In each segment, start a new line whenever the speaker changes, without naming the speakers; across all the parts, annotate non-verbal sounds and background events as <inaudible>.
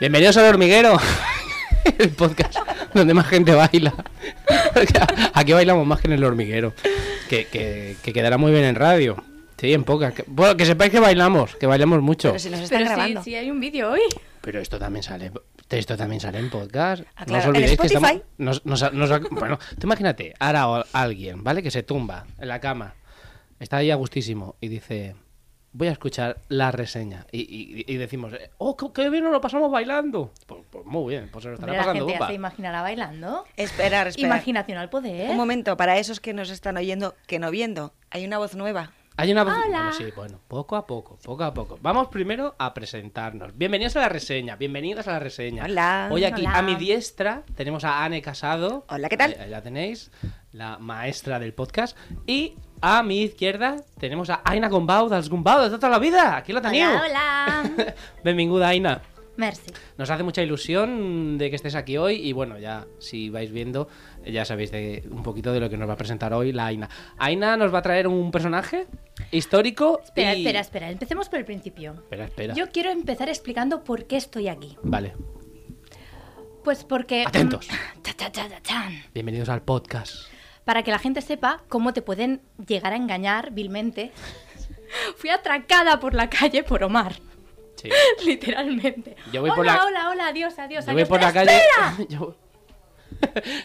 Bienvenidos al hormiguero, <laughs> el podcast donde más gente baila. <laughs> Porque Aquí bailamos más que en el hormiguero, que, que- que quedará muy bien en radio. Sí, en pocas. Que- Bueno, que sepáis que bailamos, que bailamos mucho. Pero,
Pero si nos están
Pero
grabando.
sí, sí hay un vídeo hoy.
esto también sale, esto también sale en podcast.
Ah,
No os
claro, en
olvidéis que
Spotify.
estamos- nos- nos- nos- bueno, tú imagínate, ahora o- alguien, ¿vale? Que se tumba en la cama, está ahí a gustísimo y dice, voy a escuchar la reseña. Y, y- y decimos, eh, oh, qué, qué bien nos lo pasamos bailando. Pues, pues muy bien, pues se lo estará
Hombre, la
pasando
gente ya
bomba.
se imaginará bailando.
Esperar, esperar.
Imaginación al poder.
Un momento, para esos que nos están oyendo, que no viendo, hay una voz nueva.
Hay una...
Hola.
Bueno, sí, bueno, poco a poco, poco a poco. Vamos primero a presentarnos. Bienvenidos a la reseña, bienvenidas a la reseña.
Hola.
Hoy aquí
Hola.
a mi diestra tenemos a Anne Casado.
Hola, ¿qué tal?
Ahí- ahí la tenéis, la maestra del podcast. Y a mi izquierda tenemos a Aina Gombau, dels Gombau de tota la vida. Aquí la teniu.
Hola,
<laughs>
hola.
Benvinguda, Aina.
Merci.
Nos hace mucha ilusión de que estés aquí hoy y bueno, ya si vais viendo, ya sabéis de un poquito de lo que nos va a presentar hoy la Aina. Aina nos va a traer un personaje histórico.
Espera,
y-
espera, espera. Empecemos por el principio.
espera, espera.
Yo quiero empezar explicando por qué estoy aquí.
Vale,
Pues porque...
Atentos.
<laughs> Cha, cha, cha, cha, chan.
bienvenidos al podcast.
Para que la gente sepa cómo te pueden llegar a engañar vilmente. <laughs> Fui atracada por la calle por Omar. <laughs>
Sí.
Literalmente.
Yo voy
hola,
por la-
hola, hola, adiós, adiós.
Yo voy
adiós.
por la
¡Espera!
calle. <laughs> Yo...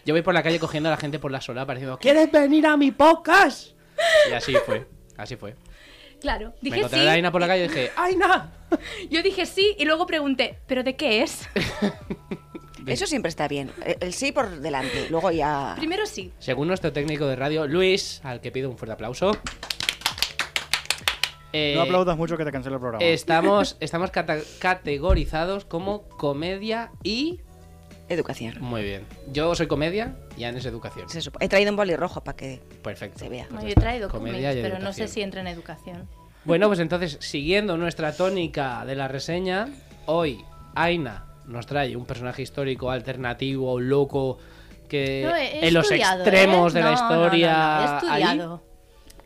yo voy por la calle cogiendo a la gente por la sola pareciendo ¿Quieres venir a mi
<laughs>
podcast? Y así fue, así fue.
<laughs> Claro,
Me
dije
encontré a la
sí.
Aina por la calle y dije, ¡Aina!
Yo dije sí y luego pregunté, ¿pero de qué es?
Eso siempre está bien. El, el sí por delante, luego ya...
Primero sí,
Según nuestro técnico de radio, Luis, al que pido un fuerte aplauso. Eh,
No aplaudas mucho que te cancelo el programa.
Estamos, estamos cata- categorizados como comedia y.
Educación.
Muy bien. Yo soy comedia y Anne es educación.
Se supo- He traído un boli rojo para que...
Perfecto.
Se vea.
Pues ya
Bueno, yo he
está.
traído
Comedia
cómics,
y
pero no sé
educación.
si entra en educación.
Bueno, pues entonces, siguiendo nuestra tónica de la reseña, hoy Aina nos trae un personaje histórico alternativo, loco, que
No, he- he
Eh, en los
estudiado,
extremos
¿eh?
de la
No, no, no,
historia.
no, he
ahí.
estudiado.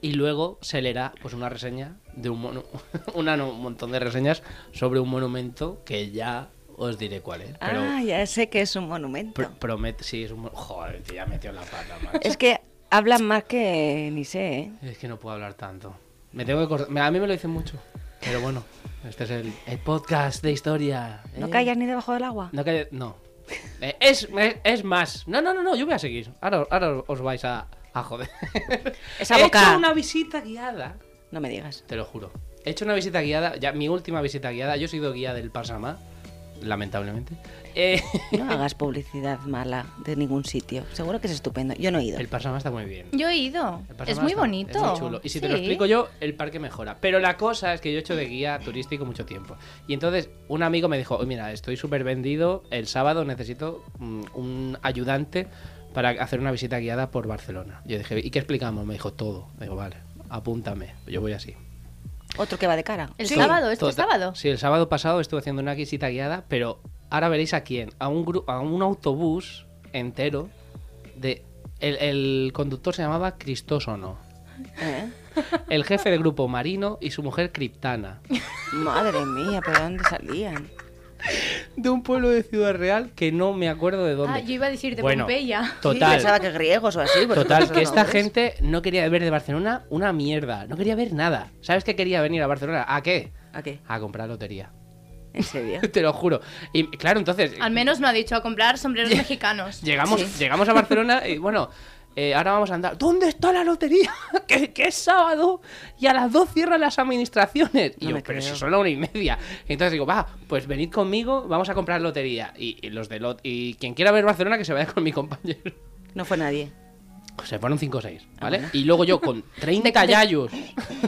Y luego se leerá pues una reseña de un mono, <laughs> una no, un montón de reseñas sobre un monumento que ya os diré cuál es. Pero
Ah, ya sé que es un monumento.
pr- promete, sí, es un mon- joder, te ya metió la pata, macho.
Es que hablan más que ni sé, ¿eh?
Es que no puedo hablar tanto. Me tengo que cort- me- A mí me lo dicen mucho. Pero bueno, este es el, el podcast de historia.
No
¿eh?
callas ni debajo del agua.
No calla- no. Eh, es, es, es más. No, no, no, no, yo voy a seguir. Ahora, ahora os vais a, a joder.
Esa
He
boca.
hecho una visita guiada.
No me digas.
Te lo juro. He hecho una visita guiada, ya mi última visita guiada. Yo he sido guía del Pasamá, lamentablemente. Eh, <laughs>
No hagas publicidad mala de ningún sitio. Seguro que es estupendo. Yo no he ido.
el Pasamá está muy bien.
Yo he ido.
El Pasamá
Es muy
está-
bonito.
Es muy chulo. Y si te lo
Sí.
explico yo, el parque mejora. Pero la cosa es que yo he hecho de guía turístico mucho tiempo. Y entonces un amigo me dijo, "Oye, mira, estoy súper vendido, el sábado necesito mm, un ayudante para hacer una visita guiada por Barcelona. Yo dije, ¿y qué explicamos? Me dijo, todo. Digo, vale, apúntame. Yo voy así.
Otro que va de cara.
El
Sí.
sábado, este
Tota-
sábado.
Sí, el sábado pasado estuve haciendo una visita guiada, pero ahora veréis a quién. A un, gru- a un autobús entero de... El, el conductor se llamaba Cristósono.
¿Eh?
El jefe de grupo Marino y su mujer Criptana.
Madre mía, ¿pero dónde salían?
<laughs> De un pueblo de Ciudad Real que no me acuerdo de dónde.
Ah, yo iba a decir de
Bueno,
Pompeya. <laughs>
Sí, pensaba
<laughs> Total.
que griegos o así. porque
Total,
esos
que
son
esta
nombres.
gente no quería ver de Barcelona una mierda. No quería ver nada. ¿Sabes qué quería venir a Barcelona? ¿A qué?
¿A qué?
A comprar lotería. <laughs>
¿En serio?
Te lo juro. Y claro, entonces.
Al menos me ha dicho a
<laughs>
comprar sombreros mexicanos.
Llegamos, llegamos a Barcelona y bueno, eh, ahora vamos a andar. ¿Dónde está la lotería? <laughs> que, que es sábado y a las dos cierran las administraciones. Y
No
yo,
me
pero
creo.
si son la una y media. Entonces digo, va, pues venid conmigo, vamos a comprar lotería. Y, y los de lot y quien quiera ver Barcelona que se vaya con mi compañero. <laughs>
No fue nadie.
Se fueron 5 o 6,
Ah,
¿vale? Y luego yo
<laughs>
con 30 yayos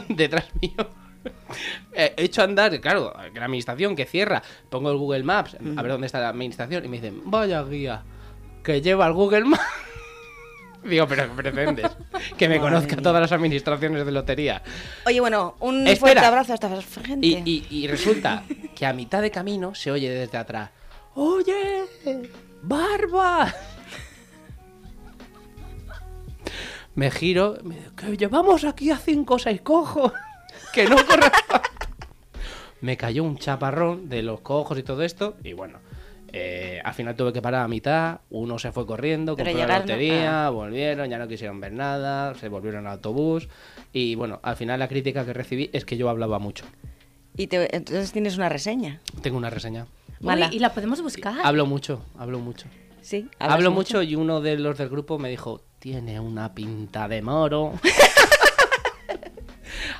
detrás mío. eh, He hecho andar, claro, que la administración que cierra. Pongo el Google Maps a
Mm.
ver dónde está la administración y me dicen, vaya guía, que lleva el Google Maps. <laughs> Digo, pero ¿qué
<laughs>
pretendes? Que me
Madre
conozca
mía.
todas las administraciones de lotería.
Oye, bueno, un
Espera.
fuerte abrazo a esta gente.
Y, y- y resulta que a mitad de camino se oye desde atrás: ¡Oye! ¡Barba! Me giro, me digo, que llevamos aquí a cinco o seis cojos. Que no corra. me cayó un chaparrón de los cojos y todo esto. Y bueno, eh, al final tuve que parar a mitad. Uno se fue corriendo,
Pero
compró la
llegaron, ah.
lotería, volvieron, ya no quisieron ver nada, se volvieron al autobús. Y bueno, al final la crítica que recibí es que yo hablaba mucho.
Y te- entonces tienes una reseña.
Tengo una reseña.
Uy,
Mala.
y la podemos buscar.
Hablo mucho, hablo mucho.
Sí. Ah. hablas
Hablo mucho y uno de los del grupo me dijo, tiene una pinta de
<laughs>
moro.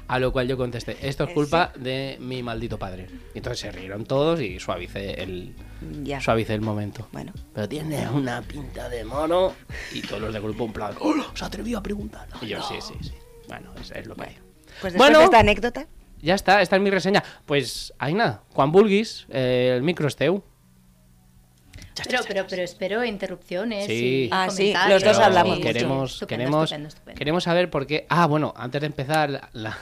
A lo cual yo contesté, esto es culpa de mi maldito padre. Y entonces se rieron todos y suavicé el,
Mm, Ya.
suavicé el momento.
Bueno.
Pero tiene una pinta de moro. Y todos los del grupo en plan, "Hola, se atrevió a preguntar. Y yo, sí, sí, sí. Bueno, es, es lo que hay.
Pues después
Bueno.
de esta anécdota.
Ya está, esta es mi reseña. Pues, Aina, Juan Bulguis, eh, el micro es teu.
Pero, pero, pero espero interrupciones.
Sí.
Y
Ah, sí,
comentarios
los dos
y-
Pero
hablamos mucho.
Queremos,
Estupendo,
queremos,
estupendo, estupendo.
queremos saber por qué. Ah, bueno, antes de empezar, la, la,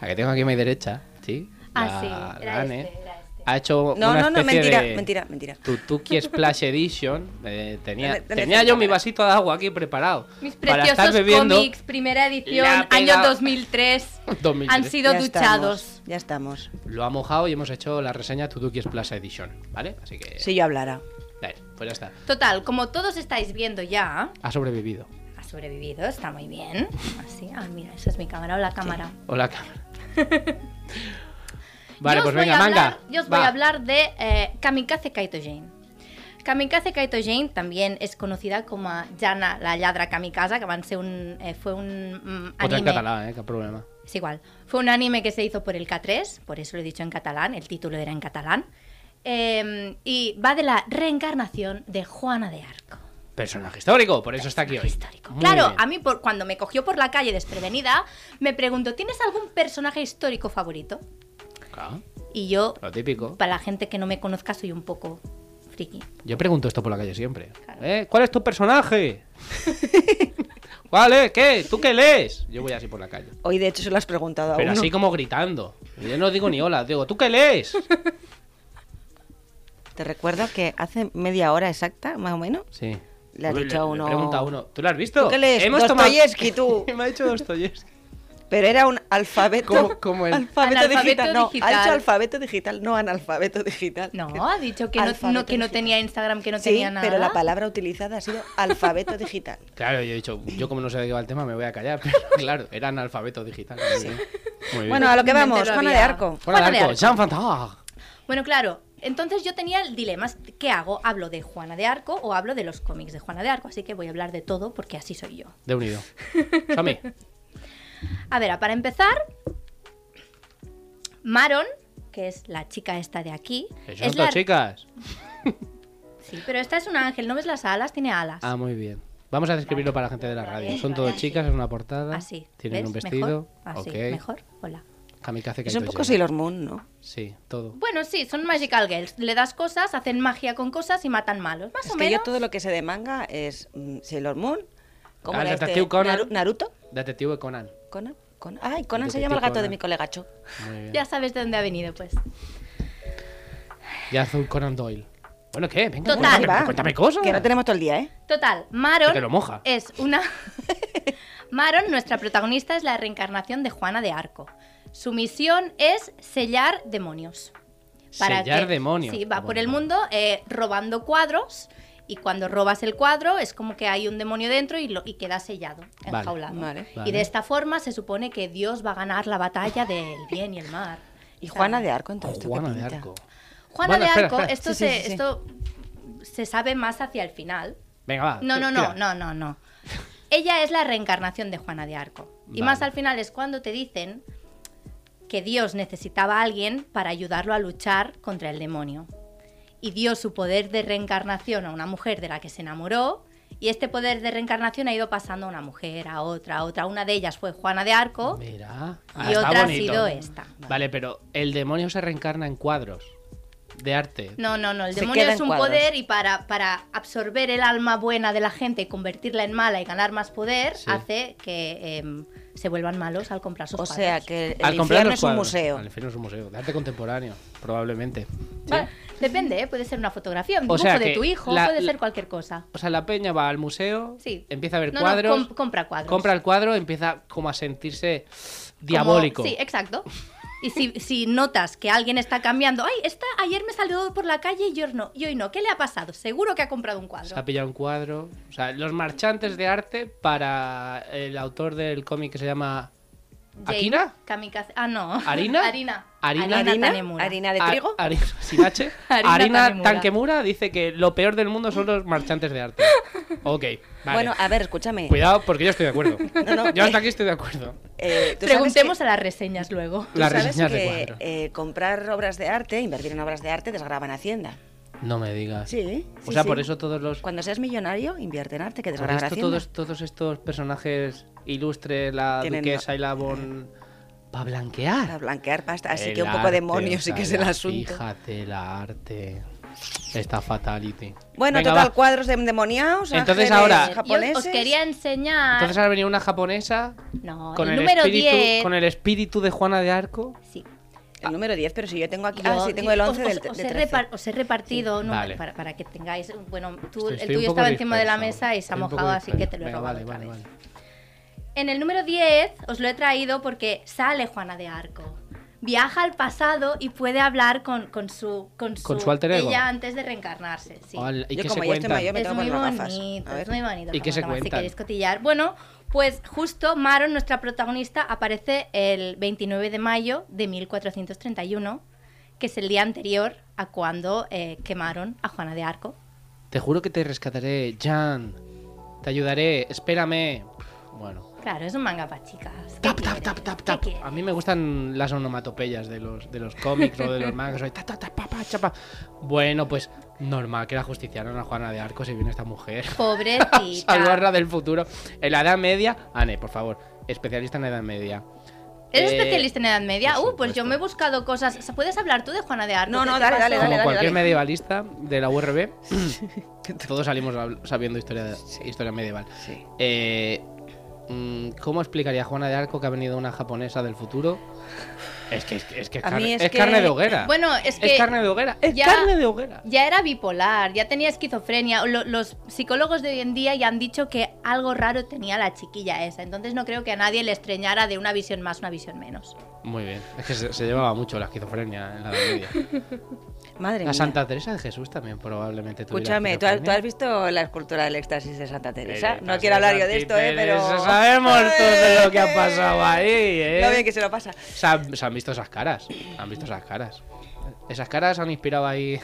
la que tengo aquí a mi derecha, ¿sí?
Ah,
La-
sí, era
la
este,
Ane,
era este.
Ha hecho.
No,
una
no, no,
especie
mentira,
de
mentira, mentira.
Tutuki Splash Edition. eh, tenía
Dale, dale,
tenía
dale,
yo mi
dale.
vasito de agua aquí preparado.
Mis
para estar
preciosos
bebiendo.
cómics, primera
La
edición,
ha
año
pegado. <laughs>
2003,
2003.
han sido
Ya
duchados.
estamos, ya estamos.
Lo ha mojado y hemos hecho la reseña Tutuki Splash Edition, ¿vale? Así que.
Si yo hablara.
dale, pues ya está.
Total, como todos estáis viendo ya,
Ha sobrevivido.
ha sobrevivido, está muy bien. Así, ah, mira, esa es mi cámara o la cámara.
Hola, cámara.
<laughs>
Vale,
Yo os
pues
voy
venga,
a hablar-
manga.
Yo os
va.
voy a hablar de eh, Kamikaze Kaito Jane. Kamikaze Kaito Jane también es conocida como Jana la lladra kamikaze, que van ser un, eh, fue un mm,
Otra en
anime.
catalán, ¿eh? Qué problema.
Es igual. Fue un anime que se hizo por el K3, por eso lo he dicho en catalán, el título era en catalán. Eh, y va de la reencarnación de Juana de Arco.
Personaje histórico, por eso está aquí hoy.
Histórico.
Muy
claro,
bien.
a mí por, cuando me cogió por la calle desprevenida, me preguntó, ¿tienes algún personaje histórico favorito?
Claro,
Y yo,
lo típico.
para la gente que no me conozca, soy un poco friki.
Yo pregunto esto por la calle siempre.
Claro.
¿Eh? ¿Cuál es tu
<laughs>
personaje? ¿Cuál es? ¿Qué? ¿Tú qué lees? Yo voy así por la calle.
Hoy, de hecho, se lo has preguntado a
Pero
uno.
así como gritando. Yo no digo ni hola, digo, ¿tú qué
<laughs>
lees?
Te recuerdo que hace media hora exacta, más o menos,
Sí.
Le has
Uy,
dicho a uno-
Le pregunta a uno. ¿Tú lo has visto?
¿Tú qué lees?
tomado-
Dostoyevsky, tú.
<laughs> Me ha dicho Dostoyevsky.
pero era un alfabeto.
¿Cómo- cómo es?
Alfabeto
Analfabeto
digital. No,
digital.
ha dicho alfabeto digital, no analfabeto digital.
No, ha dicho que no, no- que no
Alfabeto
tenía Instagram, que no
sí,
tenía nada.
pero la palabra utilizada ha
<laughs>
sido alfabeto digital.
Claro, yo he dicho, yo como no sé de qué va el tema, me voy a callar. <laughs> Pero claro, era analfabeto digital. Muy bien. Muy bien.
Bueno, a lo que
Me
vamos,
entero
Juana de
había.
Arco.
Fuera
Juana
del
de
arco,
Arco.
Jean Fantag.
Bueno, claro. Entonces yo tenía el dilema, ¿qué hago? ¿Hablo de Juana de Arco o hablo de los cómics de Juana de Arco? Así que voy a hablar de todo porque así soy yo.
De unido.
<laughs>
Sami.
A ver, para empezar, Maron, que es la chica esta de aquí,
Que son
es
dos
la-
chicas.
Sí, pero esta es un ángel, ¿no ves las alas? Tiene alas.
Ah, muy bien. Vamos a describirlo para la gente de la radio.
Vale,
Son
vale,
todas
así.
chicas en una portada.
así.
Tienen
¿ves?
un vestido.
Mejor. Así,
ok.
mejor. Hola.
Kamikaze
Es un
Kaito
poco
Jane.
Sailor Moon, ¿no?
Sí, todo.
Bueno, sí, son Magical Girls. Le das cosas, hacen magia con cosas y matan malos. Más
Es
o
que
menos.
yo todo lo que sé de manga es mm, Sailor Moon, como
Ah,
era este,
Detective Conan.
Naru- Naruto,
Detective Conan.
Conan, Conan. Ay, Conan se
Detective
llama el gato de
Conan.
mi colega Cho.
Muy bien.
Ya sabes de dónde ha venido, pues.
Ya hace un Conan Doyle. Bueno, ¿qué? Venga,
Total.
cuéntame,
Ahí
va.
cuéntame cosas.
Que no tenemos todo el día, ¿eh?
Total, Maron
Que te lo moja.
es una... <laughs> Maron, nuestra protagonista, es la reencarnación de Juana de Arco. Su misión es sellar demonios.
Sellar demonios.
Sí, va
Ah,
por
bueno,
el
vale.
mundo eh, robando cuadros y cuando robas el cuadro es como que hay un demonio dentro y, lo, y queda sellado,
Vale.
enjaulado.
Vale.
Y
Vale.
de esta forma se supone que Dios va a ganar la batalla del bien y el mal.
<laughs> Y
Está
Juana
bien.
de Arco, entonces. ¿tú qué
Juana de
pinta?
Arco.
Juana
Bueno,
de
espera,
Arco,
espera.
Esto,
Sí, sí,
se,
sí, sí.
esto se sabe más hacia el final.
Venga, va.
No,
tú,
no, no,
tira.
no, no, no. Ella es la reencarnación de Juana de Arco. Y
Vale.
más al final es cuando te dicen que Dios necesitaba a alguien para ayudarlo a luchar contra el demonio. Y dio su poder de reencarnación a una mujer de la que se enamoró Y este poder de reencarnación ha ido pasando a una mujer, a otra, a otra. Una de ellas fue Juana de Arco.
Mira. Ah,
Y
está
otra ha
bonito.
sido esta.
Vale, pero el demonio se reencarna en cuadros de arte.
No, no, no. El
Se
demonio
queda
es
en
un
cuadros.
poder y para, para absorber el alma buena de la gente y convertirla en mala y ganar más poder,
Sí.
hace que em, se vuelvan malos al comprar sus
O
cuadros.
sea que el
Al comprar
infierno
los
es un
cuadros.
museo.
Al infierno es un museo. De arte contemporáneo, probablemente. Sí.
Vale, depende, ¿eh? puede ser una fotografía, un
O
dibujo
sea
de
que
tu hijo,
la-
puede
la-
ser cualquier cosa.
O sea, la peña va al museo,
Sí.
empieza a ver
No, no,
cuadros,
comp- compra cuadros.
compra el cuadro, empieza como a sentirse
Como-
diabólico.
sí, exacto. Y si, si notas que alguien está cambiando, ay, esta ayer me salió por la calle y hoy no, y hoy no, ¿qué le ha pasado? Seguro que ha comprado un
Se
cuadro.
ha pillado un cuadro. O sea, los marchantes de arte para el autor del cómic que se llama
Jane
¿Akira?
Kamikaze- Ah, no.
¿Harina?
<laughs> Harina.
¿Harina?
Tanemura.
harina de
Har-
trigo.
hari- sin H.
<laughs> Harina
Harina
Tanemura.
Tankemura dice que lo peor del mundo son los marchantes de
<laughs>
arte. Ok, vale.
Bueno,
eh.
a ver, escúchame.
Cuidado, porque yo estoy de acuerdo.
No, no,
yo hasta
eh,
aquí estoy de acuerdo.
eh, tú sabes
Preguntemos
que-
a las reseñas luego.
tú
Las
sabes
reseñas de
que,
cuadro.
eh, comprar obras de arte, invertir en obras de arte, desgraban Hacienda.
No me digas.
Sí,
o
sí,
sea,
sí.
por eso todos los
Cuando seas millonario, invierte en arte, que
Por
desgraban
esto
Hacienda.
todos, todos estos personajes ilustres, la
Tienen-
duquesa y la bon... Para
Para
blanquear.
blanquear pasta, así
El
que un poco
arte,
demonio
o
sí
sea,
que es el
la-
asunto.
Fíjate, la arte. Esta fatality.
Bueno,
Venga,
total,
va.
cuadros de endemoniados,
Entonces
ángeles
ahora-
japoneses.
Yo os quería enseñar.
Entonces ahora venía una japonesa
No,
con
el
el,
número
espíritu,
10.
con el espíritu de Juana de Arco.
Sí.
El número 10, pero si yo tengo aquí...
Yo-
ah, sí, tengo el
os-
11 del
os, os
del
he
13.
repar- os he repartido números
Vale.
para, para que tengáis. Bueno, tú,
Estoy-
el
estoy un
tuyo
poco
estaba encima de la
disperso,
mesa y se
estoy
ha
un poco
mojado, así que
disperso.
te lo he
Venga,
robado
vale,
otra
vale,
vez.
vale.
En el número 10 os lo he traído porque sale Juana de Arco. Viaja al pasado y puede hablar con, con su con su,
Con su alter ego.
ella antes de reencarnarse. Sí.
Hola, ¿Y
Yo
qué se
como ya estoy
cuentan?
mayor- me
es
tengo
muy
que poner gafas.
bonito,
A ver.
es muy bonito.
¿Y qué se
Juanma, Si
cuentan?
queréis cotillar. Bueno, pues justo Maron, nuestra protagonista, aparece el 29 de mayo de 1431, que es el día anterior a cuando eh, quemaron a Juana de Arco.
Te juro que te rescataré, Jan. Te ayudaré, espérame. Bueno.
Claro, es un manga para chicas. ¿Qué
Tap, tap,
quieres?
tap, tap,
¿Qué
tap.
quieres?
A mí me gustan las onomatopeyas de los, de los cómics o de los mangas. Soy ta, ta, ta, pa, pa, chapa. Bueno, pues normal que la justiciaran a Juana de Arco si viene esta mujer. <laughs>
Pobrecita.
Salvarla del futuro. En la Edad Media, Ane, por favor, especialista en Edad Media.
¿Eres
Eh,
especialista en Edad Media?
por
uh, pues
supuesto.
yo me he buscado cosas. O sea, ¿Puedes hablar tú de Juana de Arco?
No, no,
¿Qué
dale,
te pasó?
dale,
Como
dale, dale.
cualquier medievalista de la
<laughs>
URB, <clears throat> todos salimos hab- sabiendo historia, historia medieval.
Sí.
Eh, mm, ¿Cómo explicaría Juana de Arco que ha venido una japonesa del futuro? Es que es, que- es que es
A mí
carne,
es
es
que-
carne de hoguera.
Bueno, es que
es carne de hoguera. Es
ya-
carne de hoguera.
Ya era bipolar, ya tenía esquizofrenia. Lo- los psicólogos de hoy en día ya han dicho que algo raro tenía la chiquilla esa. Entonces no creo que a nadie le extrañara de una visión más, una visión menos.
Muy bien. Es que se, se llevaba mucho la esquizofrenia en la Edad Media.
Madre
La
mía.
Santa Teresa de Jesús también probablemente tuviera
Escúchame, ¿tú has, tú
esquizofrenia.
has visto la escultura del éxtasis de Santa Teresa?
Eh,
no quiero hablar yo
Santa
de esto, eh, pero...
Teresa, Sabemos todo de lo que ha pasado ahí, eh.
<laughs> Lo bien que se lo pasa.
Se han, se han visto esas caras. Se han visto esas caras. Esas caras han inspirado ahí.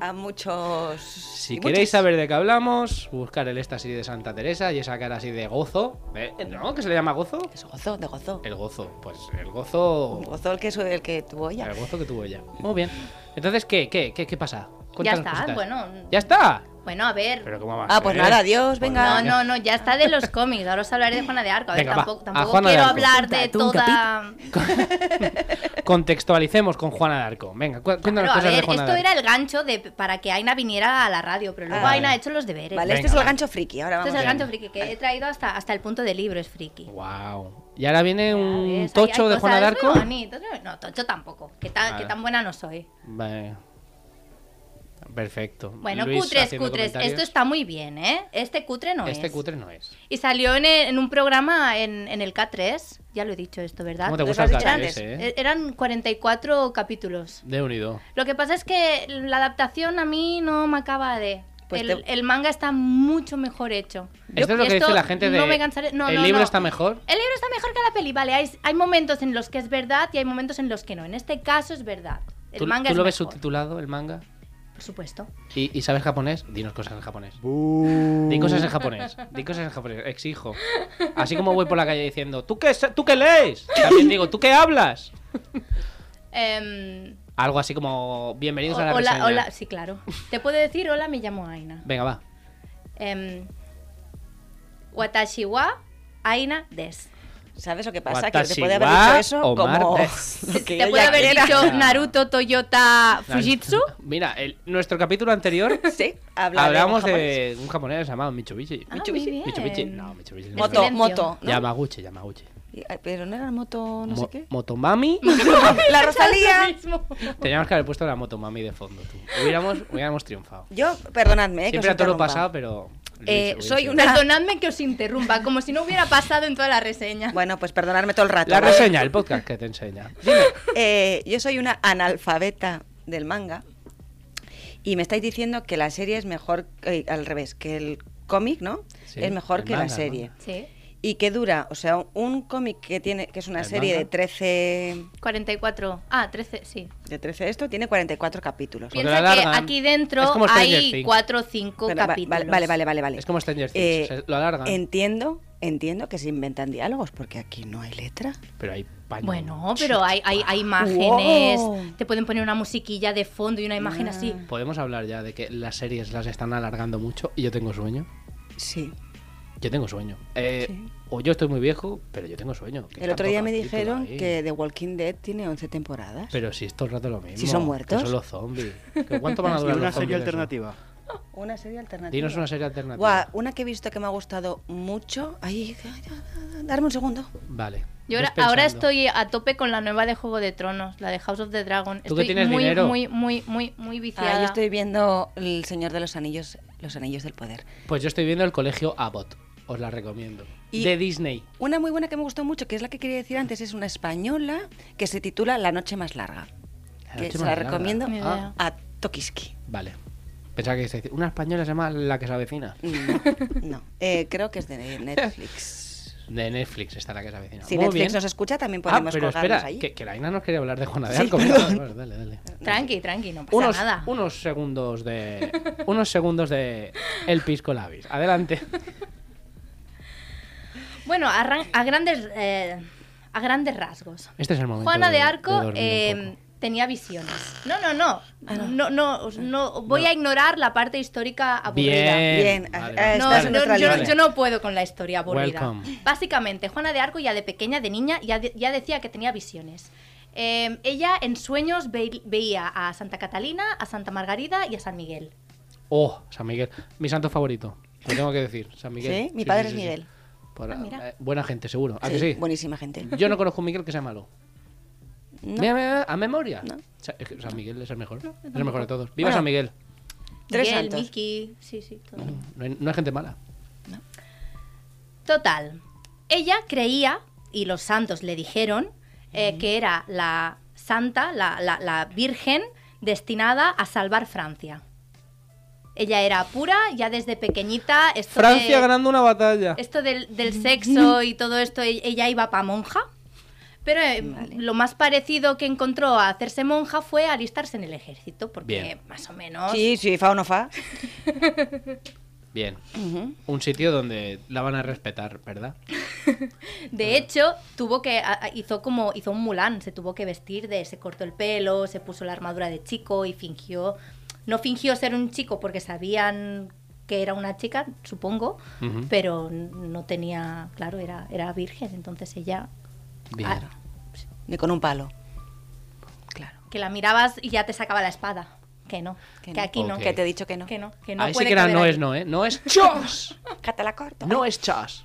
A, a muchos...
Si
y muchas.
queréis saber de qué hablamos, buscar el éxtasis de Santa Teresa y esa cara así de gozo. ¿eh? ¿No? ¿Que se le llama gozo?
Es gozo, de gozo.
El gozo. Pues el gozo.
Gozo el que, su- el que tuvo ella.
El gozo que tuvo ella. Muy bien. Entonces, ¿qué? ¿Qué? ¿Qué, qué pasa?
ya
Cuéntanos
está,
cositas.
bueno.
¿Ya está?
Bueno, a ver.
Pero ¿cómo va a
Ah, pues
ser?
nada, adiós,
Pues
venga.
No,
nada.
no, no, ya está de los cómics. Ahora os hablaré de Juana de Arco. A ver,
Venga, va,
tampoco,
a
tampoco
Juana de
quiero
Arco.
hablar de
Contate un
toda.
Contextualicemos con Juana de Arco. Venga, cu- cuéntanos
Claro, a
cosas
ver,
de Juana
esto
de Arco.
era el gancho de para que Aina viniera a la radio, pero luego
Ah,
Aina ha
vale.
hecho los deberes.
Vale,
Venga,
este es el
va.
gancho friki, ahora vamos.
Este es el
Venga.
gancho friki que he traído hasta, hasta el punto de libro, es friki.
Wow. Y ahora viene un
Ya ves,
tocho
hay- hay
de Juana de
cosas
Arco.
muy bonitas, ¿no? No, tocho tampoco, que tan,
Vale.
que tan buena no soy.
Vale. Perfecto.
Bueno,
Luis
cutres,
haciendo
cutres, esto
comentarios.
está muy bien, ¿eh? Este cutre no
Este
es.
cutre no es.
Y salió en, en un programa en, en el K3, ya lo he dicho esto, ¿verdad?
¿Cómo te
Nos
gusta
has
el
dicho
K3,
antes,
eh?
E- Eran 44 capítulos.
De unido.
Lo que pasa es que la adaptación a mí no me acaba de...
Pues
el,
te-
el manga está mucho mejor hecho.
Esto es lo que dice la gente de.
no me cansaré- no,
el
no,
libro
no.
está mejor.
El libro está mejor que la peli, vale. Hay, hay momentos en los que es verdad y hay momentos en los que no. En este caso es verdad. El
¿Tú,
manga
tú
es
lo ves
mejor.
subtitulado, el manga?
Por supuesto.
¿Y, y sabes japonés? Dinos cosas en japonés. Di cosas en japonés. Di cosas en japonés. Exijo. Así como voy por la calle diciendo, ¿tú qué, sa- tú qué lees? También digo, ¿tú qué hablas?
Em,
Algo así como,
o-
bienvenidos a la
hola,
reseña.
hola, sí, claro. Te puedo decir, hola, me llamo Aina.
Venga, va.
Em, Watashi wa Aina des.
¿Sabes lo que pasa? Que
Watashi
te puede haber
wa
dicho eso
Omar
como...
Des.
lo que
Te
ella
puede haber
quiera.
dicho Naruto Toyota
<laughs>
Fujitsu.
Mira, el- nuestro capítulo
<laughs>
anterior
<laughs> Sí, habla
hablamos
japonés.
de un japonés llamado Mitsubishi.
Ah,
Mitsubishi.
muy bien.
Mitsubishi. No, Mitsubishi. no.
Moto,
silencio.
moto. ¿no?
Yamaguchi, Yamaguchi.
Y- ay, Pero no era moto, no sé
Mo-
qué. <laughs>
Motomami. <laughs>
La Rosalía.
Teníamos que haber puesto la Motomami de fondo. tú. Hubiéramos, hubiéramos triunfado.
Yo, perdonadme, eh, que os
Siempre a todo lo
interrumpa.
pasado, pero. lo hubiese-
Eh,
hubiese
soy
sido.
una-
Perdonadme que os interrumpa, como si no hubiera pasado en toda la reseña.
Bueno, pues perdonadme todo el rato.
La
¿vale?
reseña, el podcast que te
<laughs>
enseña. Dime.
Eh, yo soy una analfabeta del manga y me estáis diciendo que la serie es mejor, eh, al revés, que el cómic, ¿no?
Sí,
es mejor
el
que la
manga, el
serie.
manga.
Sí.
Y que dura, o sea, un cómic que tiene que es una
El
serie de
manga.
13
44. Ah, 13, sí.
de 13 esto tiene 44 capítulos.
Bien,
Piensa
lo
que
alargan.
aquí
Es
dentro
como Stranger
hay
Things.
4 o 5
Pero va- va-
capítulos.
vale, vale, vale, vale.
Es como Stranger Things,
Eh,
o sea, lo alargan.
Entiendo, entiendo que se inventan diálogos porque aquí no hay letra.
Pero hay paño.
Bueno, pero hay, hay, hay imágenes,
Wow.
te pueden poner una musiquilla de fondo y una imagen así.
Podemos hablar ya de que las series las están alargando mucho y yo tengo sueño.
Sí.
Yo tengo sueño. Eh,
Sí.
O yo estoy muy viejo, pero yo tengo sueño. que
El otro
tanto
día me
capítulo
dijeron
ahí.
que The Walking Dead tiene 11 temporadas.
Pero si es todo el rato lo mismo.
Si son
que
muertos.
Son los zombies. ¿Que ¿Cuánto van a
<laughs> Y
durar
una
los
serie
zombies eso?
alternativa.
Una serie alternativa.
Dinos una serie alternativa.
Guau, una que he visto que me ha gustado mucho. Ay, ay, ay, ay, darme un segundo.
Vale.
Yo
Ves
ahora, ahora
pensando.
estoy a tope con la nueva de Juego de Tronos, la de House of the Dragon.
Tú que
estoy
tienes
muy,
dinero.
muy, muy, muy, muy
Ah,
viciada.
yo estoy viendo El Señor de los Anillos, Los Anillos del Poder.
Pues yo estoy viendo el colegio Abbott. Os la recomiendo.
Y-
De Disney.
Una muy buena que me gustó mucho, que es la que quería decir antes, es una española que se titula La noche más larga.
La
que
noche
se
más
la
larga.
recomiendo
Ni idea.
a Tokiski.
Ah, Vale. Pensaba que ibas a decir, una española se llama La que se avecina.
No, <laughs> no. Eh, creo que es de Netflix.
De Netflix está La que se avecina.
Si
Ah, Muy
Netflix
bien.
nos escucha, también
Ah,
podemos
pero
colgarnos
espera,
ahí.
que, que la Aina nos quería hablar de Juana de
Sí,
Arco.
perdón.
Bueno, dale, dale.
Tranqui, tranqui, no pasa
Unos,
nada.
unos segundos de. Unos segundos de. El pisco labis.
<laughs>
Adelante.
Bueno, a, ran- a grandes, eh, a grandes rasgos.
Este es el momento.
Juana de,
de
Arco
dormir un
eh, tenía visiones. No, no, no. No, no, os- no, voy
No.
a ignorar la parte histórica aburrida.
Bien.
Bien,
Vale,
eh,
vale.
eh,
No,
Estás en
no,
otra
yo, no-
línea.
yo no puedo con la historia aburrida.
Welcome.
Básicamente, Juana de Arco ya de pequeña, de niña, ya, de- ya decía que tenía visiones. Eh, ella en sueños ve- veía a Santa Catalina, a Santa Margarita y a San Miguel.
Oh, San Miguel. Mi santo favorito. Lo tengo que decir. San Miguel.
¿Sí? Mi padre es Miguel.
Por-
Ah, mira.
eh, buena gente, seguro. ¿A que
Sí,
sí?
Buenísima gente.
Yo no conozco un Miguel que sea malo.
No.
Mira, mira, mira, a memoria.
No.
Sa- es que San Miguel es el mejor. es el mejor de todos. Viva
Bueno.
San Miguel.
Tres
Miguel,
santos.
Miki, sí, sí, todo.
No hay, no hay gente mala.
Total, ella creía, y los santos le dijeron, eh, que era la santa, la, la- la virgen destinada a salvar Francia. Ella era pura, ya desde pequeñita. Esto
Francia
de-
ganando una batalla.
Esto del, del sexo y todo esto, e- ella iba para monja. Pero eh, lo más parecido que encontró a hacerse monja fue alistarse en el ejército, porque
Bien.
más o menos.
Sí, sí, fa o no fa.
Bien. Un sitio donde la van a respetar, ¿verdad?
De hecho, tuvo que a- a- hizo como hizo un Mulan, se tuvo que vestir de, se cortó el pelo, se puso la armadura de chico y fingió, no fingió ser un chico porque sabían que era una chica, supongo,
Ujú.
pero n- no tenía, claro, era era virgen, entonces ella
Bien.
ah,
Ni con un palo. Claro.
que la mirabas y ya te sacaba la espada, que no,
Que
que,
no.
aquí no,
Ok.
Que te he dicho que no.
que no, que no
Ahí sí
puede
que era
caber
no
ahí.
es no, ¿eh? No
<laughs>
es chos.
Que te la corto.
No es chas.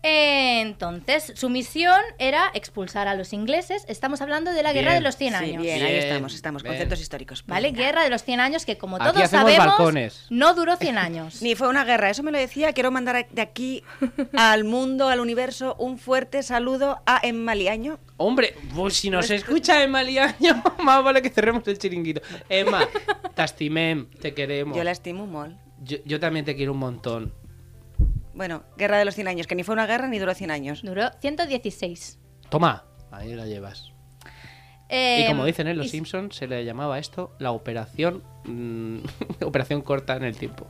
Entonces, su misión era expulsar a los ingleses. Estamos hablando de la Guerra
Bien.
de los 100
Sí,
años.
bien, ahí
Bien,
estamos, estamos.
bien.
Conceptos históricos. Pues
¿Vale?
venga.
Guerra de los 100 años que como
Aquí
todos
hacemos
sabemos
balcones.
no duró
<laughs>
100 años.
Ni fue una guerra, eso me lo decía. Quiero mandar a- de <laughs> aquí al mundo, al universo, un fuerte saludo a Emmaliaño.
Hombre, pues si nos escucha Emma <laughs> Liaño, más vale que cerremos el chiringuito. Emma, te estimem, te queremos.
Yo la estimo un mol.
Yo- yo también te quiero un montón.
Bueno, guerra de los 100 años, que ni fue una guerra ni duró 100 años.
Duró 116.
Toma, ahí la llevas.
Eh,
y
Em,
como dicen en Los
y-
Simpsons, se le llamaba a esto la operación mm, <laughs> operación corta en el tiempo.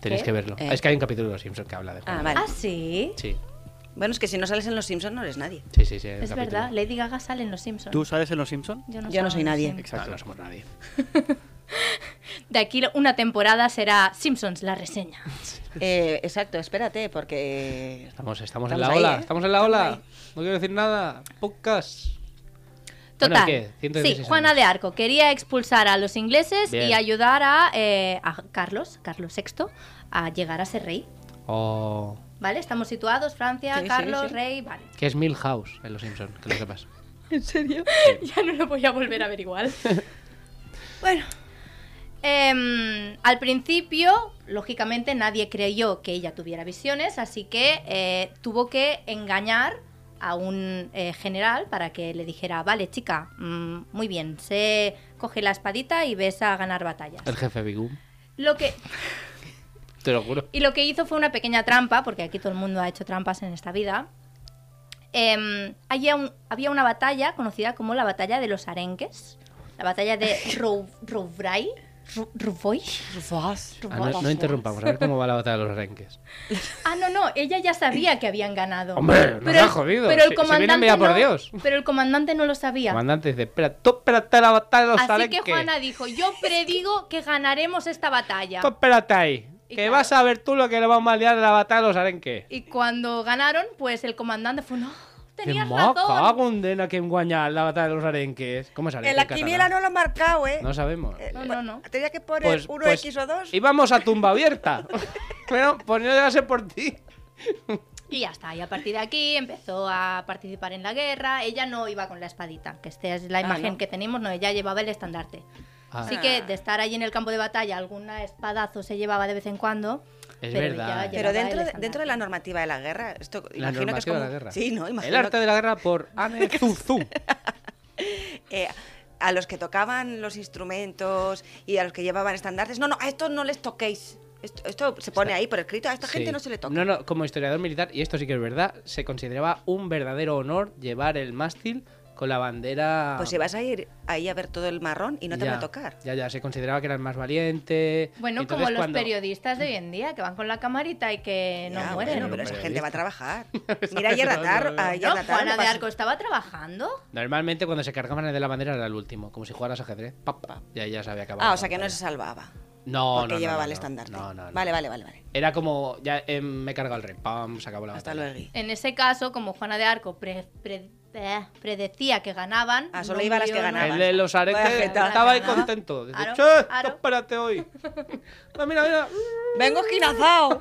Tenéis
¿Qué?
que verlo.
Eh.
Es que hay un capítulo de Los Simpsons que habla de Juan.
Ah, vale.
Ah, sí.
Sí,
Bueno, es que si no sales en Los Simpsons no
<laughs>
eres nadie.
sí, sí. sí hay un
Es
capítulo.
verdad, Lady Gaga sale en Los Simpsons.
Eh, ¿Tú sales en Los Simpson?
Yo no
salgo
soy
en Los
nadie.
Simpsons.
Ah,
Exacto.
no somos nadie.
De aquí una temporada será Simpsons,
<laughs>
la reseña.
Eh, exacto, espérate, porque
Estamos, estamos, en la
Estamos ahí,
ola,
¿eh?
estamos en la ola. No quiero decir nada. Podcast. Bueno,
Total.
¿qué? 116
sí,
años.
Juana de Arco quería expulsar a los ingleses
Bien.
y ayudar a, eh, a Carlos, Carlos VI, a llegar a ser rey.
Oh,
¿Vale? Estamos situados, Francia,
Sí, sí,
Carlos,
sí.
rey, vale.
que es Milhouse en Los Simpsons, que lo sepas.
<laughs> ya no lo voy a volver a ver igual. bueno. Em, al principio, lógicamente, nadie creyó que ella tuviera visiones, así que eh, tuvo que engañar a un eh, general para que le dijera, vale, chica, mm, muy bien, se coge la espadita y ves a ganar batallas.
El jefe Bigum.
Lo que,
Te lo juro.
y lo que hizo fue una pequeña trampa, porque aquí todo el mundo ha hecho trampas en esta vida. Em, había, un- había una batalla conocida como la batalla de los arenques, la batalla de Rou- Rouvray. Ru- Ruvoy.
Ah, no, no interrumpamos, a ver cómo va la batalla de los
<laughs>
renques.
Ah, no, no, ella ya sabía que habían ganado.
Hombre, nos
el-
ha jodido.
Pero el
Si- si viene
comandante,
enviada por
no,
Dios.
pero el comandante no lo sabía.
Comandante dice, espera, tú espérate a la batalla de los
Así que
arenques.
Juana
<laughs>
dijo, yo predigo que ganaremos esta batalla.
Tú espérate ahí.
Y
Que
claro.
vas a ver tú lo que le vamos a liar de la batalla de los arenques.
Y cuando ganaron, pues el comandante fue, no,
Que
tenías
moca,
razón.
hago un dena que enguañar la batalla de los arenques. ¿Cómo es arenque
en la
catalán?
quiniela no lo ha marcado, ¿eh?
No sabemos.
Eh,
No, no, no.
Tenía que poner
Pues-
1X
pues
o 2.
Íbamos a tumba
<laughs>
abierta. <laughs> bueno, pues no llegase por ti.
Y ya está, y a partir de aquí empezó a participar en la guerra. Ella no iba con la espadita, que esta es la imagen
no.
que tenemos, no, ella llevaba el estandarte.
Ah.
Así que de estar ahí en el campo de batalla, alguna espadazo se llevaba de vez en cuando.
Es
pero
verdad,
ella
eh. Pero
llevaba
Pero
el
dentro de,
estandarte.
dentro de la normativa de la guerra, esto
La
imagino que es
normativa
como...
de la guerra.
Sí, ¿no?
El
Imagino
arte de la guerra por
<laughs>
Anne Zuzu.
eh, a los que tocaban los instrumentos y a los que llevaban estandartes, no, no, a estos no les toquéis. Esto, esto se pone ahí por escrito, a esta gente
Sí.
no se le toca.
No, no, como historiador militar, y esto sí que es verdad, se consideraba un verdadero honor llevar el mástil con la bandera.
Pues si vas a ir ahí a ver todo el marrón y no te
Ya,
van a tocar.
Ya, ya, se consideraba que eran más valiente.
Bueno,
Entonces,
como los
cuando-
periodistas de hoy en día, que van con la camarita y que no
Ya,
mueren.
bueno,
¿no?
pero esa gente va a
Periodista. <laughs>
trabajar. Mira, ayer
No,
a
no,
Tar,
no.
ayer
No,
a Tar
Juana
le
de
pasó-
Arco estaba trabajando.
Normalmente cuando se cargaban el de la bandera era el último, como si jugaras ajedrez. Pa, pa, y ahí ya se había acabado.
Ah,
la
o sea que no
batalla.
se salvaba.
No,
porque
Oh, no, no,
llevaba
no,
el
no.
estandarte.
No, no, no.
Vale, vale, vale, vale.
Era como, ya em, me he cargado el rey, pam, se acabó la
Hasta
batalla.
luego. Gui.
En ese caso, como Juana de Arco pre- pre- eh, predecía que ganaban.
Ah, solo iba a las que
vio,
ganaban.
El de los
Vaya
aretes
jeta.
estaba ahí
Ganaba.
contento. Dice,
Aro,
"Che,
aro".
tú espérate hoy. <laughs> No, mira, mira.
¡Vengo esquinazao!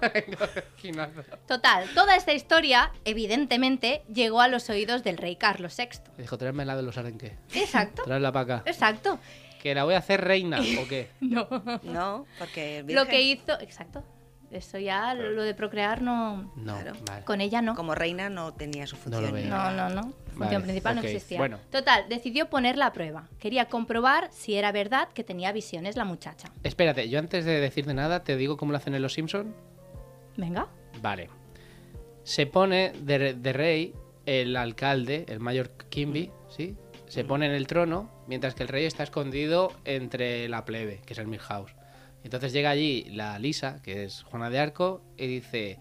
Esquinazo.
Total, toda esta historia, evidentemente, llegó a los oídos del rey Carlos VI.
Dijo, tráeme la de los arenques.
Exacto,
Tráela para acá.
exacto.
Que la voy a hacer reina, ¿o
<laughs>
qué?
No.
<laughs> No, porque.
Lo que
virgen,
hizo, exacto. Eso ya, lo de procrear no.
No,
Claro.
vale.
Con ella no.
Como reina no tenía su función.
lo veo.
No, no, no. Función
Vale,
principal
ok,
no existía.
bueno.
Total, decidió ponerla a prueba. Quería comprobar si era verdad que tenía visiones la muchacha.
Espérate, yo antes de decirte nada, te digo cómo lo hacen en Los Simpson.
Venga.
Vale. Se pone de, de rey el alcalde, el mayor Kimby, ¿sí? Se pone en el trono, mientras que el rey está escondido entre la plebe, que es el Milhouse. Entonces llega allí la Lisa, que es Juana de Arco, y dice,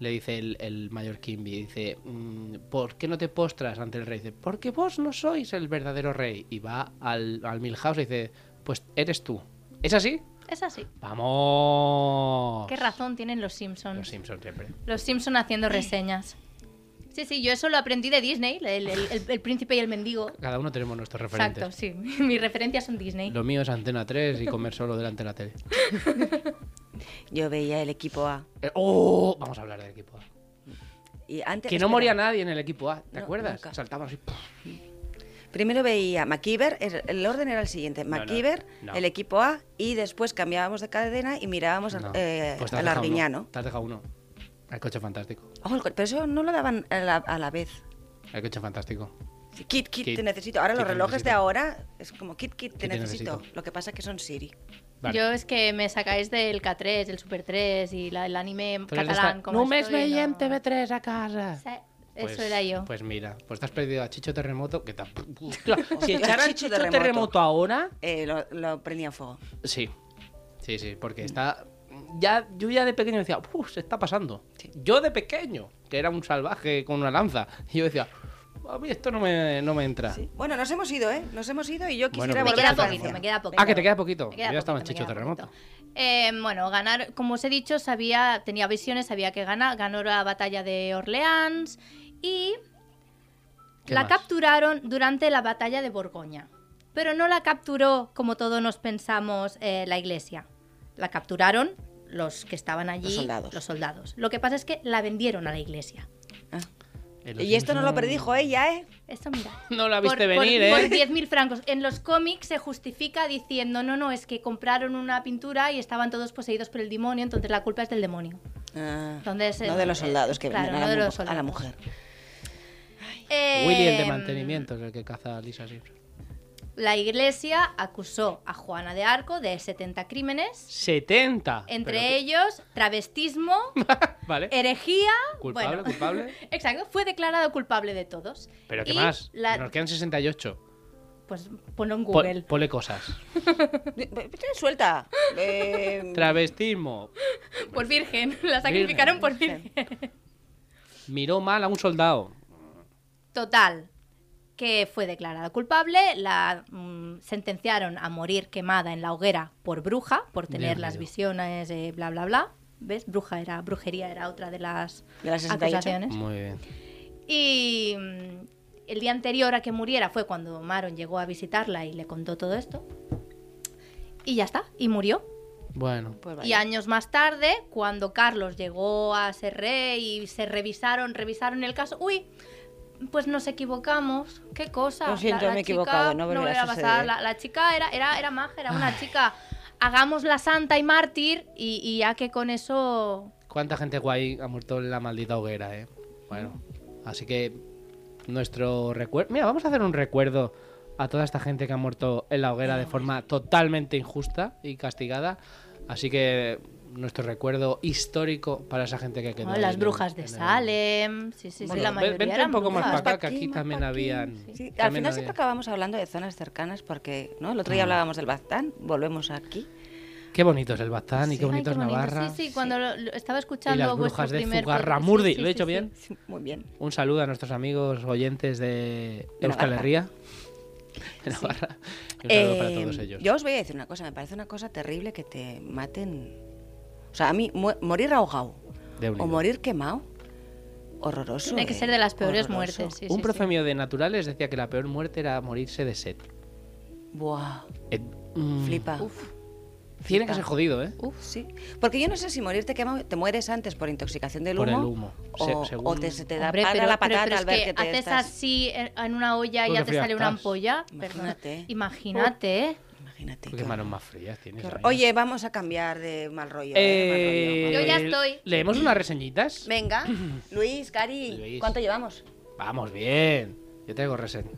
le dice el, el mayor Kimby, dice, "Mm, ¿por qué no te postras ante el rey? Dice, porque vos no sois el verdadero rey. Y va al, al Milhouse y dice, pues eres tú. ¿Es así?
Es así.
¡Vamos!
¿Qué razón tienen los Simpsons?
Los Simpsons siempre.
Los Simpson haciendo reseñas. Sí, sí, yo eso lo aprendí de Disney, el, el- el- el príncipe y el mendigo.
Cada uno tenemos nuestros referentes.
Exacto, sí. <laughs> Mis referencias son Disney.
Lo mío es Antena 3 y comer solo delante de la
<laughs>
tele.
Yo veía el equipo A.
Eh, ¡Oh! Vamos a hablar del equipo A.
Y antes,
Que
espera,
no moría nadie en el equipo A, ¿te
No,
acuerdas?
nunca.
Saltaban así. ¡puf!
Primero veía MacIver, el el orden era el siguiente:
no,
MacIver,
no.
el equipo A, y después cambiábamos de cadena y mirábamos
No.
al- eh,
Pues te has dejado
al
uno,
Arguiñano.
Te has dejado uno. El coche fantástico.
Oh, el co- pero eso no lo daban a la, a la vez.
El coche fantástico.
Sí, Kit, kit,
Kit,
te necesito. Ahora
kit,
los
te
relojes
necesito.
de ahora es como kit, kit, te,
Kit, te
necesito.
necesito.
Lo que pasa es que son Siri.
Vale.
Yo es que me sacáis del K3, el Super 3 y la- el anime
Tú eres
catalán.
esta-
como
no me
estoy,
veiem
no.
TV3 a casa.
Sí,
Pues-
Eso era yo.
Pues mira, pues te has perdido a Chicho Terremoto. Que tam-
<laughs>
Claro, si
Hostia,
echaran
Chicho
Chicho
Terremoto.
terremoto. ahora.
Eh, lo, lo prendía fuego.
Sí. Sí, sí, porque está. Ya, yo ya de pequeño decía, "Uf, se está pasando.
Sí.
<laughs> Yo de pequeño, que era un salvaje con una lanza, y yo decía, a mí esto no me, no me entra.
Sí. Bueno, nos hemos ido, ¿eh? Nos hemos ido y yo
Bueno,
quisiera
pero-
Me
volver a
queda
Francia.
poquito, me queda poquito.
Ah, que te queda poquito.
Me queda
ya estaba en
poquito,
Chicho
me queda
Terremoto.
poquito. Eh, bueno, ganar, como os he dicho, sabía, tenía visiones, sabía que ganar, ganó la batalla de Orleans y
¿Qué
la
más?
capturaron durante la batalla de Borgoña. Pero no la capturó como todos nos pensamos eh, la iglesia. La capturaron los que estaban allí,
Los soldados.
los soldados. Lo que pasa es que la vendieron a la iglesia.
En los
Y esto no lo
Simpson-
predijo ella, ¿eh?
Esto mira.
<laughs> No la viste
por, por-
venir,
por
¿eh?
10.000 francos. En los cómics se justifica diciendo, no, no, es que compraron una pintura y estaban todos poseídos por el demonio, entonces la culpa es del demonio.
Ah,
Entonces,
no
eh,
de los soldados que
claro,
venden
no
a,
de
la mu-
los soldados.
a la mujer.
Willy, el de
Em,
mantenimiento, es el que caza a Lisa Simpson.
La iglesia acusó a Juana de Arco de 70 crímenes,
70.
entre
Pero que-
ellos
<laughs>
travestismo,
Vale.
herejía...
Culpable,
bueno,
culpable.
<laughs> Exacto, fue declarado culpable de todos.
Pero ¿qué
Y
más?
la-
Nos quedan 68.
Pues ponlo en
Po-
Google.
ponle cosas.
Eh, eh,
<laughs>
Suelta. Eh,
Travestismo.
Por virgen, <laughs> la sacrificaron por virgen.
Miró mal a un soldado.
Total, que fue declarada culpable, la mm, sentenciaron a morir quemada en la hoguera por bruja, por tener
Dios
las
mío.
visiones, eh, bla, bla, bla. ¿Ves? Bruja era, brujería era otra de las,
De las 68.
acusaciones.
Muy bien.
Y mm, el día anterior a que muriera fue cuando Maron llegó a visitarla y le contó todo esto. Y ya está, y murió.
Bueno.
pues
Y
vaya.
años más tarde, cuando Carlos llegó a ser rey y se revisaron, revisaron el caso, uy, pues nos equivocamos, qué cosa.
Lo siento, me he
chica
equivocado, no volverá a
volverá pasar.
suceder.
La, la chica era, era, era maja, era una chica. Hagámosla santa y mártir y, y ya que con eso...
¿Cuánta gente guay ha muerto en la maldita hoguera, eh? Bueno. Así que nuestro recuerdo... Mira, vamos a hacer un recuerdo a toda esta gente que ha muerto en la hoguera de forma totalmente injusta y castigada. Así que nuestro recuerdo histórico para esa gente que quedó.
Bueno,
ahí
las
en
brujas
el-
de
en el-
Salem, sí, sí, sí,
Bueno,
la
ve-
mayoría
vente
eran
un poco más
brujas.
para acá, que aquí también habían...
Sí,
también
al final siempre
había- Mm.
acabamos hablando de zonas cercanas porque, ¿no? El otro día hablábamos del Baztán, volvemos aquí. <laughs>
Qué bonito es el Baztán y qué
Ay,
bonito es
bonito.
Navarra.
Sí, sí, cuando lo- lo- estaba escuchando
Y las
vuestro
brujas de
primer podcast-
Zugarramurdi,
sí, sí,
¿lo he dicho
sí, sí.
bien?
Sí, muy bien.
Un saludo a nuestros amigos oyentes de,
De
Euskal
Navarra.
Herria, de Navarra. Y un saludo para
Eh,
todos ellos.
Yo os voy a decir una cosa, me parece una cosa terrible que te maten. O sea, a mí mu- morir ahogado
De unido.
o morir quemado, horroroso.
Tiene que
¿eh?
ser de las peores
Horroroso.
muertes. sí,
un
sí,
profe
sí.
mío de naturales decía que la peor muerte era morirse de sed.
Buah,
Eh, mm,
flipa.
Uf,
Tiene
flipa.
que ser jodido, ¿eh?
Uf, sí. Porque yo no sé si morirte quemado te mueres antes por intoxicación del humo.
Por el humo. Se-
O,
según-
o te, se te da
hombre,
para
pero-
la
pero-
patata
pero es
al ver que, te
haces
estás-
así en en una olla y
Porque
ya te
fría
sale una
estás.
ampolla.
Imagínate.
Perdona. Imagínate. ¿eh?
Imagínate.
Porque
qué
manos
horror-
más frías tienes.
qué horror.
Dani.
Oye, vamos a cambiar de mal rollo.
Eh,
¿eh? Mal rollo, mal
Yo
rollo.
ya estoy.
¿Leemos unas reseñitas? <clears throat>
Venga, Luis, Cari,
Luis.
¿cuánto llevamos?
Vamos, bien. Yo traigo reseña.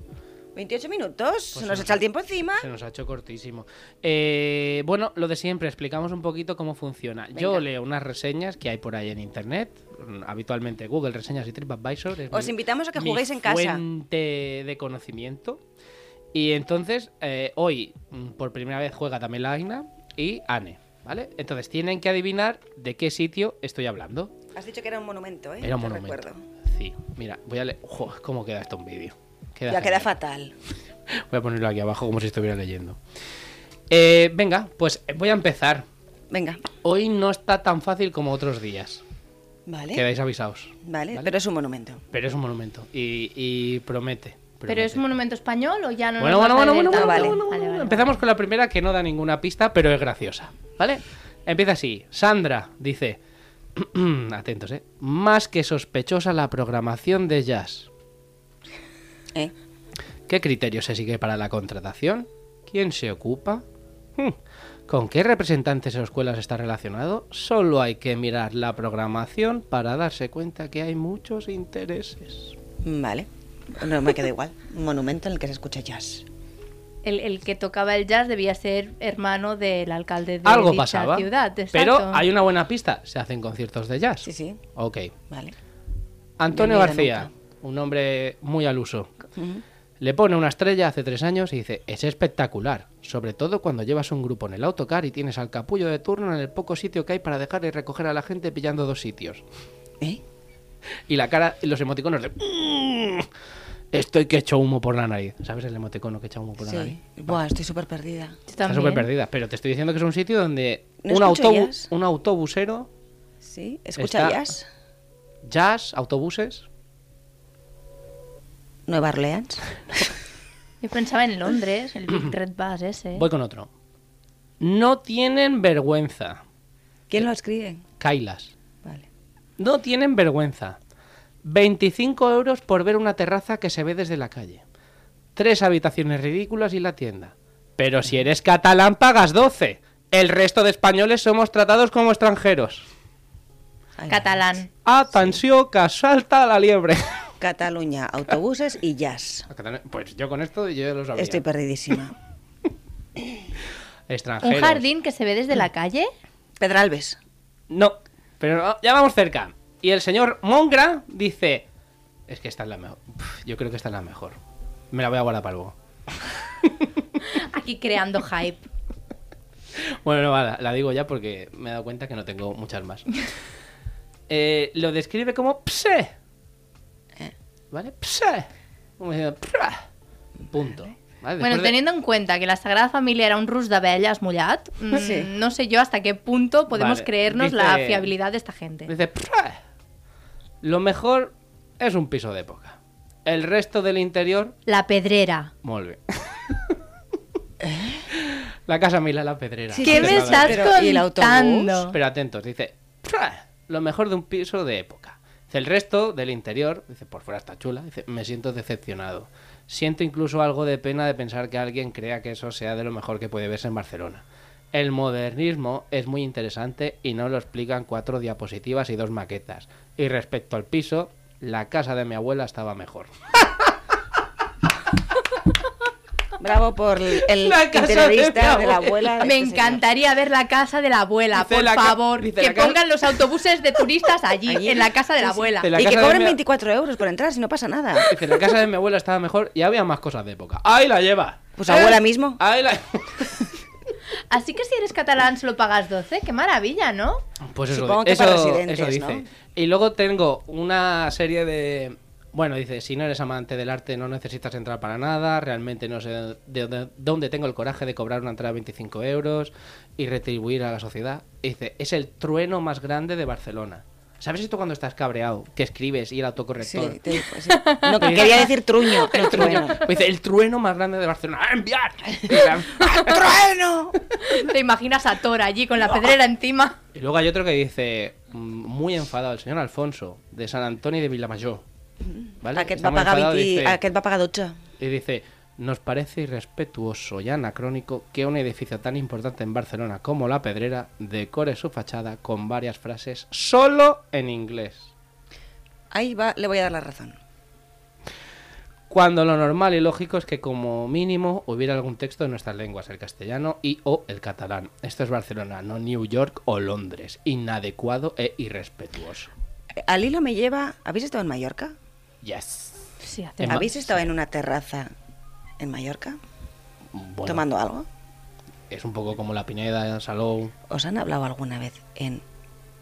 28 minutos, se nos
se
echa
nos-
el tiempo encima.
Pues Se nos ha hecho cortísimo. Eh, bueno, lo de siempre, explicamos un poquito cómo funciona. Yo leo unas reseñas que hay por ahí en internet, mm, habitualmente Google, reseñas y TripAdvisor. es
Os
mi-
invitamos a que
mi
juguéis en casa.
fuente de conocimiento. Y entonces, eh, hoy, mm, por primera vez, juega también la Aina y Anne. ¿Vale? Entonces tienen que adivinar de qué sitio estoy hablando.
Has dicho que era un monumento, ¿eh?
Era un
Te
monumento.
recuerdo.
Sí, mira, voy a leer. Ujú, ¿Cómo queda esto en vídeo? Queda
Ya queda
genial.
fatal.
Voy a ponerlo aquí abajo como si estuviera leyendo. Eh, venga, pues voy a empezar.
Venga,
Hoy no está tan fácil como otros días.
¿Eh?
vale.
Quedáis avisados.
Vale,
¿Vale?
pero es un monumento.
Pero es un monumento. Y, y promete.
¿Pero es
promete.
un monumento español o ya no?
Bueno, bueno,
nos vas a
bueno, bueno,
leer
bueno,
tanto?
vale.
bueno, bueno,
Ah, Vale,
bueno.
vale,
Empezamos
vale.
con la primera que no da ninguna pista, pero es graciosa. ¿Vale? Empieza así. Sandra dice... <clears throat> Atentos, ¿eh? Más que sospechosa la programación de jazz.
¿Eh?
¿Qué criterio se sigue para la contratación? ¿Quién se ocupa? Hmm. ¿Con qué representantes o escuelas está relacionado? Solo hay que mirar la programación para darse cuenta que hay muchos intereses.
Vale. No me queda igual. Un monumento en el que se escucha jazz.
El, el que tocaba el jazz debía ser hermano del alcalde de
Algo
dicha
pasaba.
ciudad.
Pero
exacto.
hay una buena pista. Se hacen conciertos de jazz.
Sí, sí.
Ok.
Vale.
Antonio
Yo no he ido
García, un hombre muy al uso. Le pone una estrella hace tres años y dice, es espectacular, sobre todo cuando llevas un grupo en el autocar y tienes al capullo de turno en el poco sitio que hay para dejar y recoger a la gente pillando dos sitios.
¿Eh?
Y la cara, y los emoticonos de... estoy "Mm, que echo humo por la nariz. ¿Sabes el emoticono que echa humo por la nariz?
Sí. Buah, estoy súper perdida.
Está súper perdida, pero te estoy diciendo que es un sitio donde
No
un,
escucho
autobús,
jazz.
un autobusero,
¿Sí? ¿Escucha
Está-
jazz?
jazz, autobuses.
Nueva Orleans.
Yo pensaba en
<clears throat>
Londres, el Big Red Bus ese.
Voy con otro. No tienen vergüenza, Eh.
¿Quién lo escribe?
Kailas.
Vale.
No tienen vergüenza. 25 euros por ver una terraza que se ve desde la calle. Tres habitaciones ridículas y la tienda. Pero si eres catalán pagas 12. El resto de españoles somos tratados como extranjeros.
Ahí va.
Catalán.
Atenció que salta la <laughs> liebre.
Cataluña, autobuses y jazz.
Pues yo con esto yo ya lo sabía.
Estoy perdidísima.
Extranjeros.
Un jardín que se ve desde la calle.
Pedralbes.
No, pero no, ya vamos cerca. Y el señor Mongra dice... Es que esta es la mejor. Pf, Yo creo que esta es la mejor. Me la voy a guardar para luego.
Aquí creando hype.
Bueno, no, va, la, la digo ya porque me he dado cuenta que no tengo muchas
<laughs>
más. Eh, lo describe como pse.
Eh.
¿Vale? Pse. Como diciendo, "Pra". Punto. ¿Vale?
bueno,
Después de-
teniendo en cuenta que la Sagrada Familia era un rus d'abelles mullat, mm,
<laughs>
Sí.
no sé yo hasta qué punto podemos
Vale,
creernos
dice-
la fiabilidad de esta gente.
Dice, "Pra". Lo mejor es un piso de época. El resto del interior,
La Pedrera.
muy
<laughs>
bien. La casa Mila la Pedrera.
Sí,
¿Eh? ¿Qué
sí,
me
sí.
estás
Pero, ¿y el
contando?
autobús?
Pero atentos, dice, "Fra, lo mejor de un piso de época. Dice, el resto del interior, dice, por fuera está chula, dice, me siento decepcionado. Siento incluso algo de pena de pensar que alguien crea que eso sea de lo mejor que puede verse en Barcelona. El modernismo es muy interesante y no lo explican cuatro diapositivas y dos maquetas. Y respecto al piso, la casa de mi abuela estaba mejor.
Bravo por el el
La casa de
interiorista
mi
de
abuela.
la abuela. de
Me
este
encantaría ver la casa de la abuela,
Dice
por
la ca-
favor.
dice
Que
la casa-
pongan los autobuses de turistas allí,
Allí.
en la casa de la abuela.
De
señor.
la
y que
casa de
cobren
mi-
24 euros por entrar, si no pasa nada.
Dice, la casa de mi abuela estaba mejor y había más cosas de época. Ahí la lleva. ¿Eh?
Pues abuela mismo.
Ahí la...
Así que si eres catalán solo pagas 12, qué maravilla, ¿no?
Pues eso,
Supongo
di-
que para
eso-
residentes,
eso dice.
¿no?
Y luego tengo una serie de... Bueno, dice, si no eres amante del arte no necesitas entrar para nada, realmente no sé de dónde- dónde tengo el coraje de cobrar una entrada de 25 euros y retribuir a la sociedad. Y dice, es el trueno más grande de Barcelona. ¿Sabes esto cuando estás cabreado? Que escribes y el autocorrector...
Sí, te- pues sí. No, que quería decir
<laughs>
truño, no trueno.
Pues dice, <laughs> el trueno más grande de Barcelona. ¡A enviar! Y la-
¡Trueno!
Te imaginas a Tora allí con la pedrera encima.
Y luego hay otro que dice, mm, muy enfadado, el señor Alfonso, de San Antonio de Vilamayor. ¿Vale?
Aquest
Está
va
muy
pagar
enfadado,
20,
dice-
aquest va pagar 12.
Y dice, nos parece irrespetuoso y anacrónico que un edificio tan importante en Barcelona como La Pedrera decore su fachada con varias frases solo en inglés.
Ahí va, le voy a dar la razón.
Cuando lo normal y lógico es que como mínimo hubiera algún texto en nuestras lenguas, el castellano y o el catalán. Esto es Barcelona, no New York o Londres. Inadecuado e irrespetuoso.
Eh, Al hilo me lleva. ¿Habéis estado en Mallorca?
Yes.
Sí, hace-
En Ma-
¿Habéis estado en una terraza en Mallorca?
Bueno,
¿Tomando algo?
Es un poco como la Pineda, Salou,
¿Os han hablado alguna vez en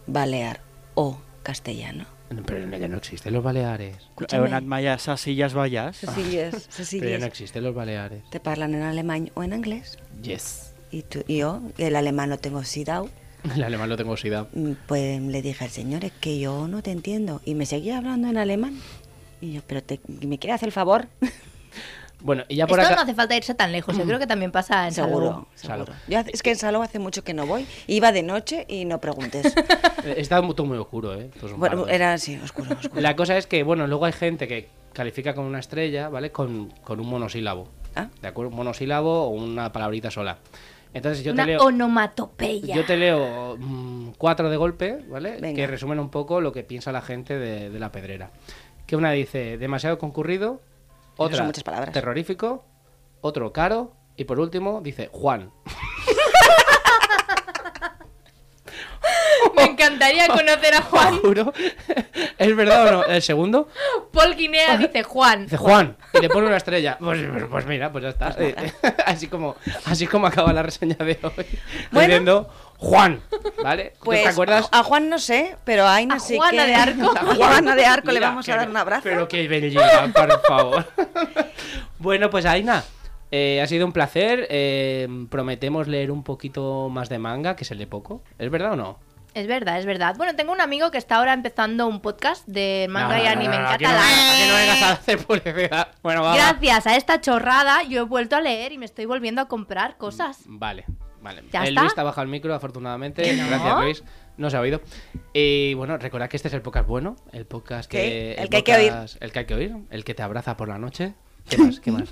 balear o castellano?
pero en ella no existen los Baleares.
He anat mai a ses Illes Balears.
<laughs> Cecillas,
Pero ya no
Cecillas.
existen los Baleares.
Te parlan en alemán o en inglés.
Yes.
Y tú, y yo, el alemán lo tengo sidao,
El alemán lo tengo oxidado.
mm, pues le dije al señor, es que yo no te entiendo. Y me seguía hablando en alemán. Y yo, pero te- ¿me quiere hacer el favor?
Bueno, y ya
Esto
por acá.
no hace falta irse tan lejos, yo creo que también pasa en Salou.
Seguro,
Salou.
seguro. Yo hace- es que en Salou hace mucho que no voy. Iba de noche y no preguntes.
Eh, Está mu- todo muy oscuro, ¿eh? Todos son
bueno,
pardos.
era así, oscuro, oscuro.
La cosa es que, bueno, luego hay gente que califica con una estrella, ¿vale? Con, con un monosílabo.
Ah.
¿De acuerdo? Un monosílabo o una palabrita sola. Entonces yo
Una
te leo.
onomatopeya.
Yo te leo mm, cuatro de golpe, ¿vale?
Venga.
Que resumen un poco lo que piensa la gente de, de la pedrera. Que una dice demasiado concurrido,
son
otra
muchas palabras.
terrorífico, otro caro y por último dice Juan.
Me encantaría conocer a Juan.
<laughs>
<laughs>
Juro. ¿Es verdad o no? El segundo.
Paul Guinea dice Juan.
Dice Juan, y le pone una estrella. Pues, pues- pues mira, pues ya está. <laughs> así, como, así como acaba la reseña de hoy.
Bueno.
Diciendo Juan, ¿vale? ¿Tú
Pues
¿Te acuerdas?
a Juan no sé, pero a Aina
A
sí
Juana
que...
de Arco.
<laughs> A Juana
<laughs>
de Arco le
Mira,
vamos a
que
dar
be-
un abrazo.
Pero qué belleza, por favor. <laughs> bueno, pues Aina, eh, ha sido un placer. eh, prometemos leer un poquito más de manga, que se lee poco. ¿Es verdad o no?
Es verdad, es verdad. Bueno, tengo un amigo que está ahora empezando un podcast de manga
No, no,
y
no,
anime
no, no,
en
aquí no-
catalán.
aquí no vengas a hacer publicidad. Bueno, va, va.
Gracias a esta chorrada yo he vuelto a leer y me estoy volviendo a comprar cosas.
Vale, vale.
¿Ya
el
está?
Luis está bajo el micro, afortunadamente.
¿Que no?
Gracias, Luis. No se ha oído. Y bueno, recordad que este es el podcast bueno, el podcast que.
Sí, el que hay que oír.
podcast- El que hay que oír, el que te abraza por la noche. ¿Qué más? ¿Qué
<laughs>
más?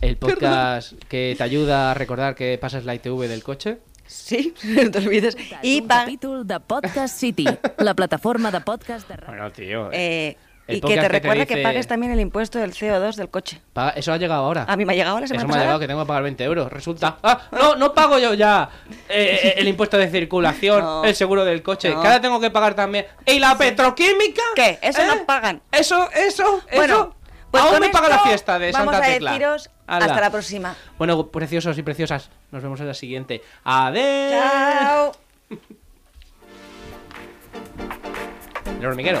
El podcast que te ayuda a recordar que pasas la ITV del coche.
Sí, <laughs> no te olvides.
I
I
un
va...
capítol de Podcast City, la plataforma de podcast de ràdio.
Bueno, tío.
eh,
El
y
podcast
que te
que te
recuerda que,
dice-
pagues también el impuesto del CO2 del coche.
Paga- Eso ha llegado ahora.
A mí me ha llegado la semana
Ah, Eso me ha
pasada.
llegado que tengo que pagar 20 euros. Resulta. ¡Ah! No, no pago yo ya eh, eh,
<laughs>
el impuesto de circulación,
No.
el seguro del coche.
No.
Que ahora tengo que pagar también. ¿Y la petroquímica?
¿Qué? Eso
¿Eh?
no pagan.
Eso, eso,
Bueno,
eso.
pues
Aún
con
me paga la
esto
fiesta de
vamos
Santa
a
Tecla.
deciros
Hala.
hasta la próxima.
Bueno, preciosos y preciosas, nos vemos en la siguiente. ¡Adés!
Chao.
El hormiguero.